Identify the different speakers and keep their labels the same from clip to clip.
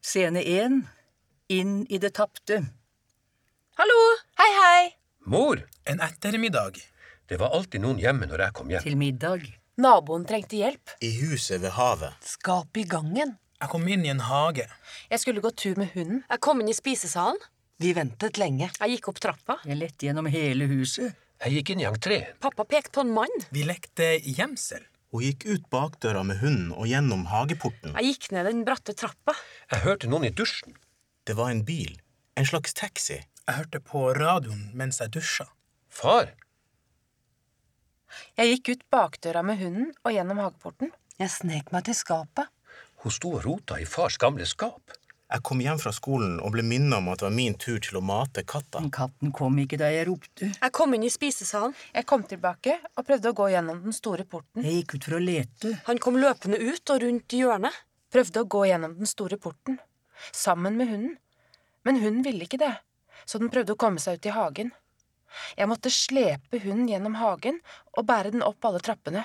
Speaker 1: Scene 1 Inn i det tapte.
Speaker 2: Hallo! Hei, hei!
Speaker 3: Mor,
Speaker 4: En ettermiddag.
Speaker 3: det var alltid noen hjemme når jeg kom hjem.
Speaker 1: Til middag.
Speaker 2: Naboen trengte hjelp.
Speaker 5: I huset ved havet.
Speaker 2: Skapet i gangen.
Speaker 4: Jeg kom inn i en hage.
Speaker 2: Jeg skulle gå tur med hunden. Jeg kom inn i spisesalen.
Speaker 6: Vi ventet lenge.
Speaker 2: Jeg gikk opp trappa.
Speaker 1: Jeg lette gjennom hele huset.
Speaker 3: Jeg gikk inn i entreen.
Speaker 2: Pappa pekte på en mann.
Speaker 4: Vi lekte gjemsel.
Speaker 5: Hun gikk ut bakdøra med hunden og gjennom hageporten.
Speaker 2: Jeg gikk ned den bratte trappa.
Speaker 3: Jeg hørte noen i dusjen.
Speaker 5: Det var en bil. En slags taxi.
Speaker 4: Jeg hørte på radioen mens jeg dusja.
Speaker 3: Far,
Speaker 2: Jeg gikk ut bakdøra med hunden og gjennom hageporten.
Speaker 6: Jeg snek meg til skapet.
Speaker 3: hun sto og rota i fars gamle skap.
Speaker 5: Jeg kom hjem fra skolen og ble minnet om at det var min tur til å mate katta.
Speaker 1: Men katten kom ikke da jeg ropte.
Speaker 2: Jeg kom inn i spisesalen.
Speaker 7: Jeg kom tilbake og prøvde å gå gjennom den store porten.
Speaker 1: Jeg gikk ut for å lete.
Speaker 2: Han kom løpende ut og rundt hjørnet.
Speaker 7: Prøvde å gå gjennom den store porten. Sammen med hunden. Men hunden ville ikke det, så den prøvde å komme seg ut i hagen. Jeg måtte slepe hunden gjennom hagen og bære den opp alle trappene.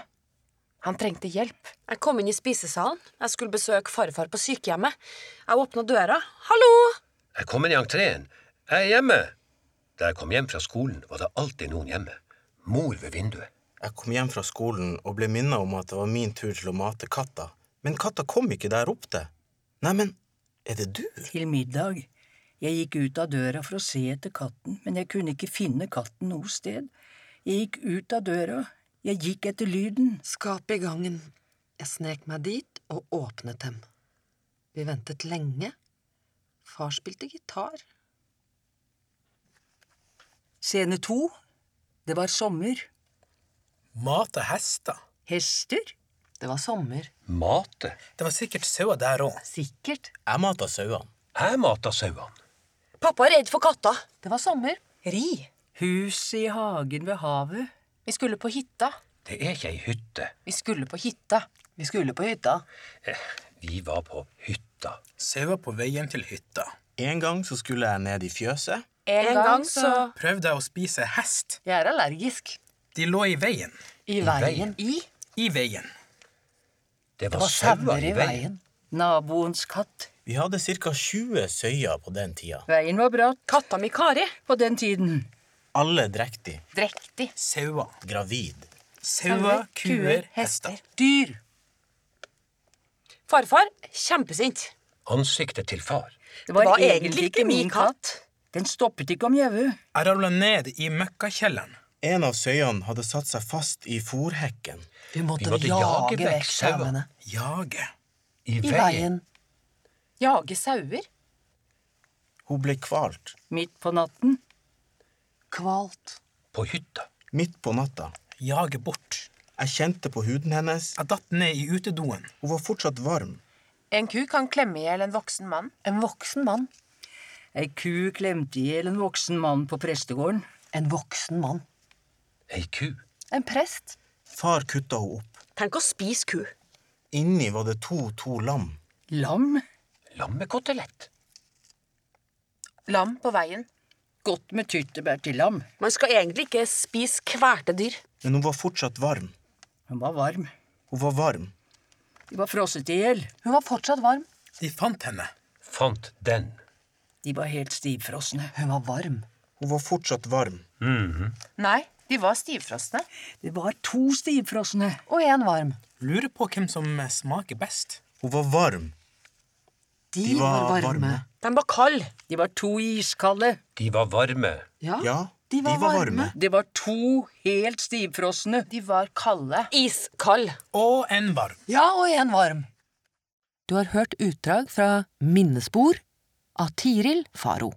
Speaker 7: Han trengte hjelp.
Speaker 2: Jeg kom inn i spisesalen. Jeg skulle besøke farfar på sykehjemmet. Jeg åpna døra. Hallo!
Speaker 3: Jeg kom inn i entreen. Jeg er hjemme. Da jeg kom hjem fra skolen, var det alltid noen hjemme. Mor ved vinduet.
Speaker 5: Jeg kom hjem fra skolen og ble minnet om at det var min tur til å mate katta. Men katta kom ikke da jeg ropte. Neimen, er det du?
Speaker 1: Til middag. Jeg gikk ut av døra for å se etter katten, men jeg kunne ikke finne katten noe sted. Jeg gikk ut av døra. Jeg gikk etter lyden.
Speaker 6: Skapet i gangen. Jeg snek meg dit og åpnet dem. Vi ventet lenge. Far spilte gitar.
Speaker 1: Scene 2 Det var sommer.
Speaker 4: Mate hester.
Speaker 1: Hester?
Speaker 6: Det var sommer.
Speaker 3: Mate.
Speaker 4: Det var sikkert sauer der òg.
Speaker 6: Sikkert.
Speaker 5: Jeg mata sauene.
Speaker 3: Jeg mata sauene.
Speaker 2: Pappa er redd for katta.
Speaker 6: Det var sommer.
Speaker 2: Ri.
Speaker 1: Huset i hagen ved havet.
Speaker 7: Vi skulle på hytta.
Speaker 3: Det er ikke ei hytte. Eh,
Speaker 7: Vi skulle på hytta.
Speaker 6: Vi skulle på hytta.
Speaker 3: Vi var på hytta.
Speaker 4: Sauer på veien til hytta.
Speaker 5: En gang så skulle jeg ned i fjøset.
Speaker 7: En, gang så
Speaker 4: Prøvde jeg å spise hest.
Speaker 6: Jeg er allergisk.
Speaker 4: De lå i veien.
Speaker 6: I veien. I?
Speaker 4: I veien.
Speaker 3: Det
Speaker 6: Det
Speaker 3: var
Speaker 6: var sauer i veien.
Speaker 1: Naboens katt.
Speaker 5: Vi hadde ca. 20 søyer på den tida.
Speaker 1: Veien var bratt
Speaker 2: Katta mi Kari.
Speaker 1: på den tiden.
Speaker 5: Alle drektig.
Speaker 7: drektig.
Speaker 4: Sauer.
Speaker 5: Gravid.
Speaker 4: Sauer, kuer, hester.
Speaker 1: Dyr.
Speaker 2: Farfar kjempesint.
Speaker 3: Ansiktet til far.
Speaker 1: Det var, egentlig ikke min katt. Den stoppet ikke om gjevet.
Speaker 4: Jeg ravla ned i møkkakjelleren.
Speaker 5: En av søyene hadde satt seg fast i fòrhekken.
Speaker 6: Vi måtte,
Speaker 3: Vi måtte
Speaker 6: jage,
Speaker 3: jage vekk
Speaker 6: vekk
Speaker 3: sauer.
Speaker 6: sauene.
Speaker 4: Jage.
Speaker 3: I,
Speaker 6: I veien.
Speaker 7: Jage sauer.
Speaker 5: Hun ble kvalt.
Speaker 1: Midt på natten.
Speaker 6: Kvalt.
Speaker 3: På hytta.
Speaker 5: Midt på natta.
Speaker 4: Jage bort.
Speaker 5: Jeg kjente på huden hennes.
Speaker 4: Jeg datt ned i utedoen.
Speaker 5: Hun var fortsatt varm.
Speaker 7: En ku kan klemme i hjel en voksen mann.
Speaker 6: En voksen mann.
Speaker 1: Ei ku klemte i hjel en voksen mann på prestegården.
Speaker 6: En voksen mann.
Speaker 3: Ei ku.
Speaker 6: En prest.
Speaker 5: Far kutta henne opp.
Speaker 2: Tenk å spise ku.
Speaker 5: Inni var det to to lam.
Speaker 1: Lam.
Speaker 3: Lammekotelett.
Speaker 7: Lam på veien.
Speaker 1: Godt med tyttebær til lam.
Speaker 2: Man skal egentlig ikke spise kvelte dyr.
Speaker 5: Men hun var fortsatt varm.
Speaker 1: Den var varm.
Speaker 5: Hun var varm.
Speaker 1: De var frosset i hjel.
Speaker 6: Hun var fortsatt varm.
Speaker 4: De fant henne.
Speaker 3: Fant den.
Speaker 1: De var helt stivfrosne.
Speaker 6: Hun var varm.
Speaker 5: Hun var fortsatt varm.
Speaker 7: Nei, de var stivfrosne.
Speaker 1: Det var to stivfrosne.
Speaker 6: Og en varm.
Speaker 4: Lurer på hvem som smaker best.
Speaker 5: Hun var varm.
Speaker 6: De,
Speaker 5: De
Speaker 6: var,
Speaker 5: var
Speaker 6: varme.
Speaker 5: varme.
Speaker 2: De var kalde.
Speaker 1: De var to iskalde.
Speaker 3: De var varme.
Speaker 6: Ja.
Speaker 5: Ja,
Speaker 6: de var, varme.
Speaker 1: Det var to helt stivfrosne.
Speaker 7: De var kalde.
Speaker 2: Iskald.
Speaker 4: Og en varm.
Speaker 6: Ja, og en varm. Du har hørt utdrag fra Minnespor av Tiril Faro.